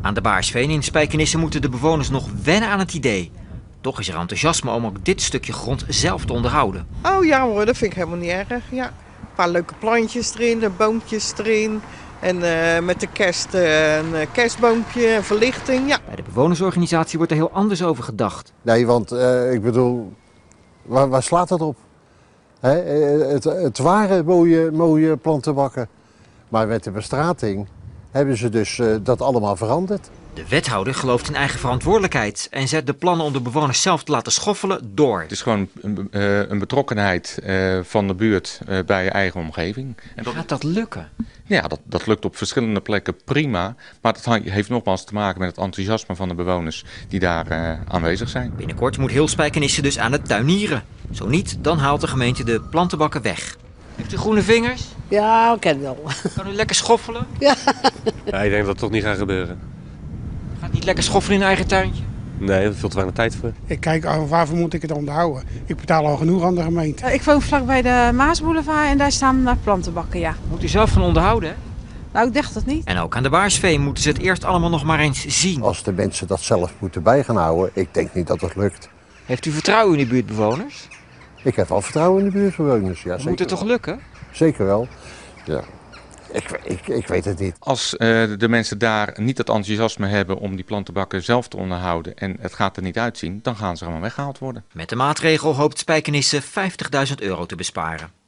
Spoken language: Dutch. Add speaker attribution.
Speaker 1: Aan de Baarsveen in Spijkenissen moeten de bewoners nog wennen aan het idee. Toch is er enthousiasme om ook dit stukje grond zelf te onderhouden.
Speaker 2: Oh ja hoor, dat vind ik helemaal niet erg. Ja. Een paar leuke plantjes erin, de boompjes erin. En eh, met de kerst eh, een eh, kerstboompje en verlichting. Ja,
Speaker 1: Bij de bewonersorganisatie wordt er heel anders over gedacht.
Speaker 3: Nee, want eh, ik bedoel, waar, waar slaat dat op? Hè? eh, Het, het waren mooie, mooie plantenbakken. Maar met de bestrating hebben ze dus eh, dat allemaal veranderd.
Speaker 1: De wethouder gelooft in eigen verantwoordelijkheid en zet de plannen om de bewoners zelf te laten schoffelen door.
Speaker 4: Het is gewoon een, eh, een betrokkenheid eh, van de buurt eh, bij je eigen omgeving. En dat,
Speaker 1: Gaat dat lukken?
Speaker 4: ja, dat, dat lukt op verschillende plekken prima. Maar dat hang- heeft nogmaals te maken met het enthousiasme van de bewoners die daar eh, aanwezig zijn.
Speaker 1: Binnenkort moet heel Spijkenissen dus aan het tuinieren. Zo niet, dan haalt de gemeente de plantenbakken weg. Heeft u groene vingers?
Speaker 5: Ja, ik ken wel.
Speaker 1: Kan u lekker schoffelen?
Speaker 6: Ja, ik denk dat het toch niet gaat gebeuren.
Speaker 1: Gaat niet lekker schoffelen in uw eigen tuintje?
Speaker 6: Nee, daar heb ik veel te weinig tijd voor.
Speaker 7: Ik kijk, oh, waarvoor moet ik het onderhouden? Ik betaal al genoeg aan de gemeente.
Speaker 8: Eh, Ik woon vlakbij de Maasboulevard en daar staan naar plantenbakken, ja.
Speaker 1: Moet u zelf van onderhouden, hè?
Speaker 8: Nou, ik dacht dat niet.
Speaker 1: En ook aan de Baarsveen moeten ze het eerst allemaal nog maar eens zien.
Speaker 3: Als de mensen dat zelf moeten bij gaan houden, ik denk niet dat dat lukt.
Speaker 1: Heeft u vertrouwen in de buurtbewoners?
Speaker 3: Ik heb wel vertrouwen in de buurtbewoners. Ja,
Speaker 1: Dat
Speaker 3: zeker,
Speaker 1: moet het toch
Speaker 3: wel.
Speaker 1: lukken?
Speaker 3: zeker wel. Ja. Ik, ik, ik weet het niet.
Speaker 4: Als eh, de mensen daar niet het enthousiasme hebben om die plantenbakken zelf te onderhouden en het gaat er niet uitzien, dan gaan ze gewoon weggehaald worden.
Speaker 1: Met de maatregel hoopt Spijkenissen 50.000 euro te besparen.